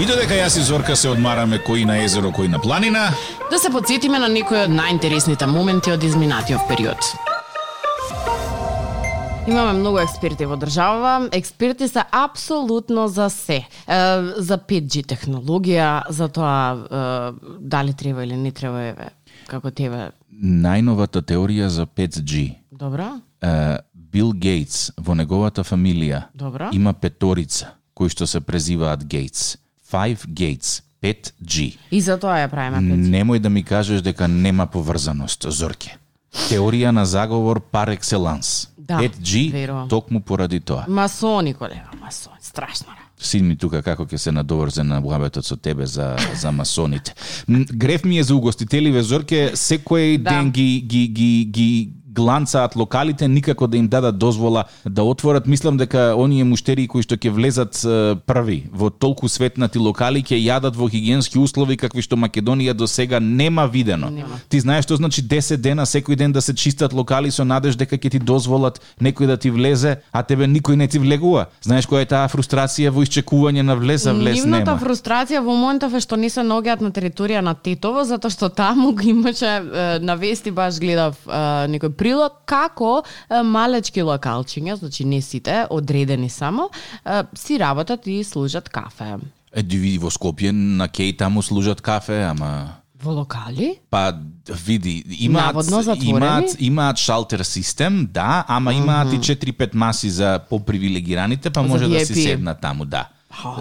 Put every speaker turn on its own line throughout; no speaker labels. И додека јас и Зорка се одмараме кои на езеро, кои на планина,
Да се подсетиме на некои од најинтересните моменти од изминатиот период. Имаме многу експерти во држава. Експерти се апсолутно за се. Е, за 5G технологија, за тоа е, дали треба или не треба, еве, како тебе.
најновата теорија за 5G,
Добра?
е, Бил Гейтс во неговата фамилија
Добра.
има петорица кои што се презиваат Гейтс. Five Gates, 5G.
И за тоа ја правиме 5G.
Немој да ми кажеш дека нема поврзаност, Зорке. Теорија на заговор пар екселанс.
Да,
5G
верувам.
токму поради тоа.
Масони, колега, масони. Страшно. ра.
Сидми тука како ќе се надоврзе на блабетот со тебе за за масоните. М, Греф ми е за угостителиве Зорке, секој
Да.
ден ги ги ги ги гланцаат локалите никако да им дадат дозвола да отворат. Мислам дека оние муштерии кои што ќе влезат е, први во толку светнати локали ќе јадат во хигиенски услови какви што Македонија до сега нема видено.
Нема.
Ти знаеш што значи 10 дена секој ден да се чистат локали со надеж дека ќе ти дозволат некој да ти влезе, а тебе никој не ти влегува. Знаеш која е таа фрустрација во исчекување на влез, а да влез
Нивната
нема.
фрустрација во моментов е што не се наоѓаат на територија на Титово, затоа што таму ги имаше е, на вести баш гледав е, некој прилог како е, малечки локалчиња, значи не сите, одредени само, е, си работат и служат кафе.
Еди види во Скопје на Кеј таму служат кафе, ама
Во локали?
Па види, имаат
Наводно затворени?
имаат имаат шалтер систем, да, ама имаат и 4-5 маси за попривилегираните, па
За
може да си
VIP.
седна таму, да.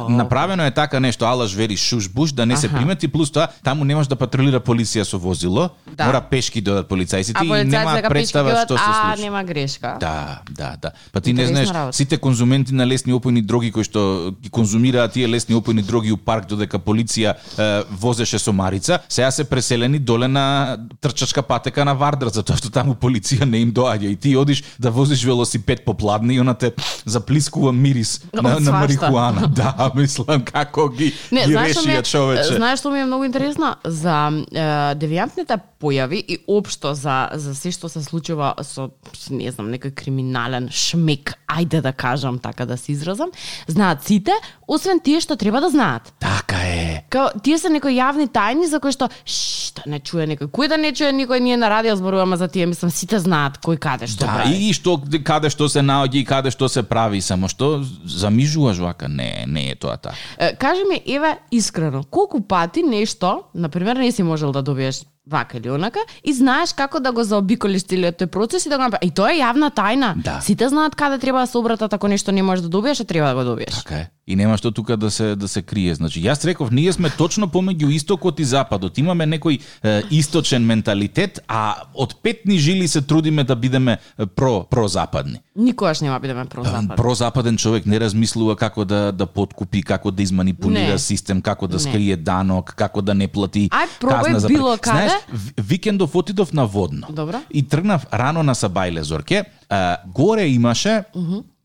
Направено е така нешто алаш вери шуш буш да не се
Аха.
примети плюс тоа таму не може да патрулира полиција со возило,
Да.
мора пешки додат
А
полицајците и
полицајот
нема
дека пички
представа што се
а,
случи.
нема грешка.
Да, да, да. Па ти не
Интересна
знаеш,
работа.
сите конзументи на лесни опојни droги кои што ги конзумираат тие лесни опојни droги у парк додека полиција е, возеше со Марица, сега се преселени доле на трчачка патека на Вардар, затоа што таму полиција не им доаѓа и ти одиш да возиш велосипед попладне и она те заплискува мирис на,
Од
на
свашта.
марихуана. Да, мислам како ги,
Не,
ги
знаеш што ми е,
решија човече.
знаеш што ми е многу интересно за е, девијантните појави и општо за за се што се случува со не знам некој криминален шмек, ајде да кажам така да се изразам, знаат сите, освен тие што треба да знаат.
Така е.
Као, тие се некои јавни тајни за кои што шш, да не чуе некој. Кој да не чуе никој, ние на радио зборуваме за тие, мислам сите знаат кој каде што
Да,
прави.
и, и што каде што се наоѓа и каде што се прави, само што замижуваш вака, не, не е тоа така.
Е, кажи ми, еве, искрено, колку пати нешто, например, не си можел да добиеш вака или онака, и знаеш како да го заобиколиш целиот тој процес и да го направиш. И тоа е јавна тајна.
Да.
Сите знаат каде треба да се обратат ако нешто не можеш да добиеш, а треба да го добиеш.
Така е. И нема што тука да се да се крие. Значи, јас реков, ние сме точно помеѓу истокот и западот. Имаме некој е, источен менталитет, а од петни жили се трудиме да бидеме е, про прозападни.
Никогаш нема да бидеме прозапад.
Прозападен човек не размислува како да да подкупи, како да изманипулира
Не.
систем, како да
Не.
скрие данок, како да не плати
Ај, пробај
казна за
било
пре- Знаеш,
каде.
в- викендов отидов на водно.
Добро.
Да. И тргнав рано на Сабајле Зорке. А, горе имаше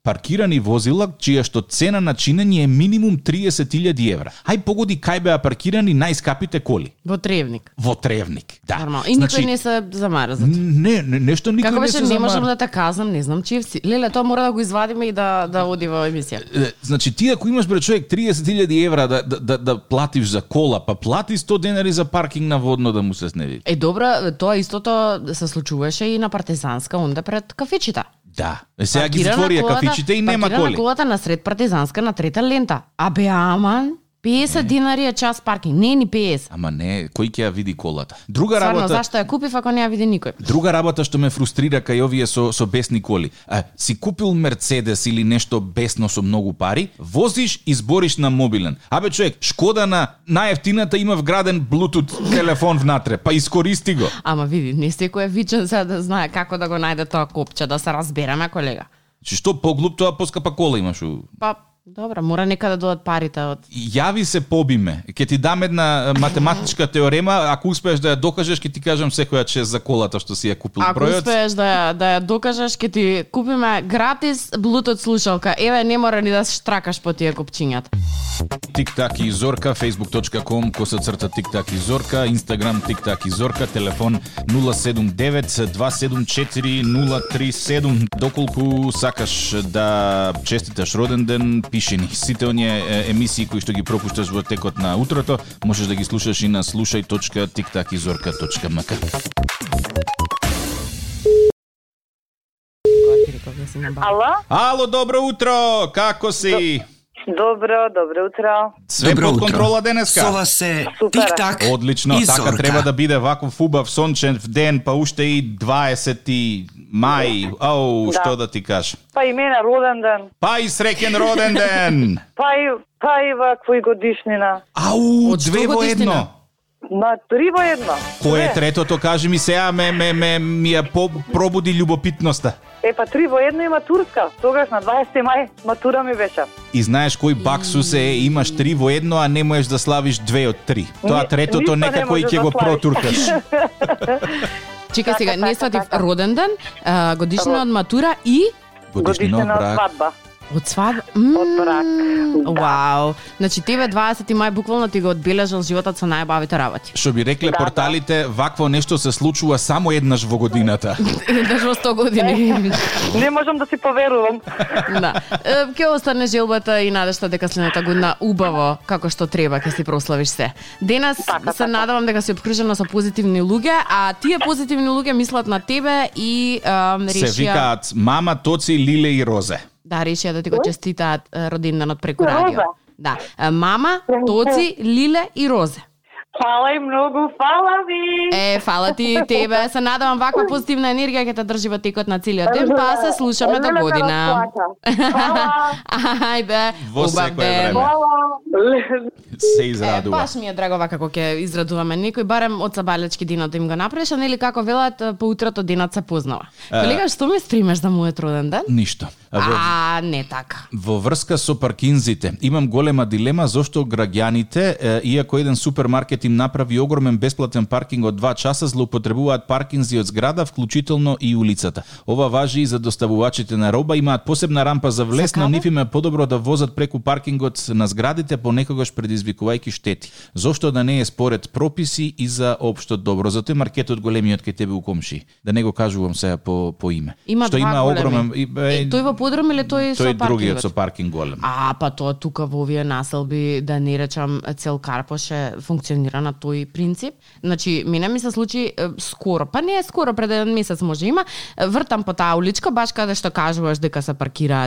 паркирани возила чија што цена на чинење е минимум 30.000 евра. Ај погоди кај беа паркирани најскапите коли
Во тревник.
во Тревник. Да.
Нормално. И никој не се замара за тоа.
не, не, нешто никој
Како
не се
беше, не можам
замара.
да те казам, не знам чиј си. Леле, тоа мора да го извадиме и да, да оди во емисија.
Е, значи ти ако имаш бре човек 30.000 евра да, да, да, да платиш за кола, па плати 100 денари за паркинг на водно да му се снеди.
Е, добра, тоа истото се случуваше и на партизанска, онда пред кафичите.
Да. Е, сега ги
Паркирана
затворија
колата-
кафичите и нема
паркирана
коли.
колата на сред партизанска на трета лента. А бе, аман, 50 динари е час паркинг. Не ни 50.
Ама не, кој ќе ја види колата? Друга
Стварно,
работа,
зашто ја купив ако не ја види никој?
Друга работа што ме фрустрира кај овие со со бесни коли. А, си купил Мерцедес или нешто бесно со многу пари, возиш и збориш на мобилен. Абе човек, Шкода на најевтината има вграден Bluetooth телефон внатре, па искористи го.
Ама види, не секој е вичен за да знае како да го најде тоа копче, да се разбереме, колега.
Значи што поглуп тоа поскапа кола имаш у
Па, добра, мора некаде да додат парите од...
Јави се побиме. Ќе ти дам една е, математичка теорема, ако успееш да ја докажеш, ќе ти кажам секоја чест за колата што си ја купил
Ако
бројот.
успееш да, ја- да ја докажеш, ке ти купиме гратис Bluetooth слушалка. Еве, не мора ни да штракаш по тие копчињата.
Тик-так и Зорка, facebook.com, коса црта Тик-так и Зорка, Instagram Тик-так и Зорка, телефон 079-274-037. Доколку сакаш да честиташ роден ден, Тишини. Сите оние е, емисии кои што ги пропушташ во текот на утрото, можеш да ги слушаш и на slušaj.tiktakizorka.mk.
Ало?
Ало, добро утро! Како си?
Добро, добро утро.
Све
Добро
под
утро.
контрола денеска?
Сова се
Супер.
тик-так
Одлично,
и
така
зорка.
треба да биде ваков убав сончев ден, па уште и 20 мај. Ау,
Да.
што да ти кажам.
Па и мене роден ден,
Па и среќен роден ден.
па и, па и ваква и годишнина.
Ау,
Од што
две во
годишнина?
едно.
Ма три во едно.
Кој е
Две.
третото, кажи ми сега, ме, ме, ме, ми ја по, пробуди љубопитноста.
Е, па три во едно и матурска. Тогаш на 20 мај матура ми беше.
И знаеш кој баксус е, имаш три во едно, а не можеш да славиш две од три. Тоа
Ни-
третото
ништо не
нека кој
можеш
ќе
да
го
славиш.
протуркаш.
Чекај сега,
Така,
не
така,
сватив
така.
роден ден, а, годишнина од матура и
Годишнина од брак.
свадба.
од свадба.
Од брак, да.
Вау. Значи тебе 20 мај буквално ти го одбележал животот со најбавите работи.
Што би рекле
Да, да.
порталите, вакво нешто се случува само еднаш во годината.
Еднаш во 100 години.
Не можам да си поверувам.
да. Е, Ќе остане желбата и надешта дека следната година убаво, како што треба, ќе си прославиш се. Денес
Така,
се
така.
надавам дека си обкружена со позитивни луѓе, а тие позитивни луѓе мислат на тебе и ем,
Се
решија
викаат мама, тоци, лиле и розе.
да решија да ти го честитаат е, роденденот преку
Роза.
радио. Да, Е, мама, Тоци, Лиле и Розе.
Фала и многу, фала ви.
Е, фала ти тебе. Се надавам ваква позитивна енергија ќе те држи во текот на целиот ден, па се слушаме до
Леле да ме
година.
расплака. Фала.
Ајде,
Во
убав
секое
ден.
време.
Фала. Ле-
Се
Е, па,
израдува.
баш ми е драго вака како ќе израдуваме некој, барем од сабалечки денот да им го направиш, а нели како велат, е, по утрото денот се познава. Колега, што ме стримеш за мојот роден ден?
Ништо. А во-
А, не така.
Во врска со паркинзите, имам голема дилема зошто граѓаните, е, иако еден супермаркет им направи огромен бесплатен паркинг од 2 часа, злоупотребуваат паркинзи од зграда, вклучително и улицата. Ова важи и за доставувачите на роба, имаат посебна рампа за влез,
За
но
каде?
нив им е подобро да возат преку паркингот на зградите, понекогаш предизвикувајќи штети. Зошто да не е според прописи и за општо добро? Затоа е маркетот големиот кај тебе у комши. Да не го кажувам сега по, по име.
Има
Што
два
има
големи.
огромен... и-
Е, тој во подром или тој,
тој
со
другиот
паркингот?
со паркинг голем.
А, па тоа тука во овие населби, да не речам цел Карпоше, функционира на тој принцип. Значи, мене ми се случи е, скоро, па не е скоро, пред еден месец може има, е, вртам по таа уличка, баш каде што кажуваш дека се паркираат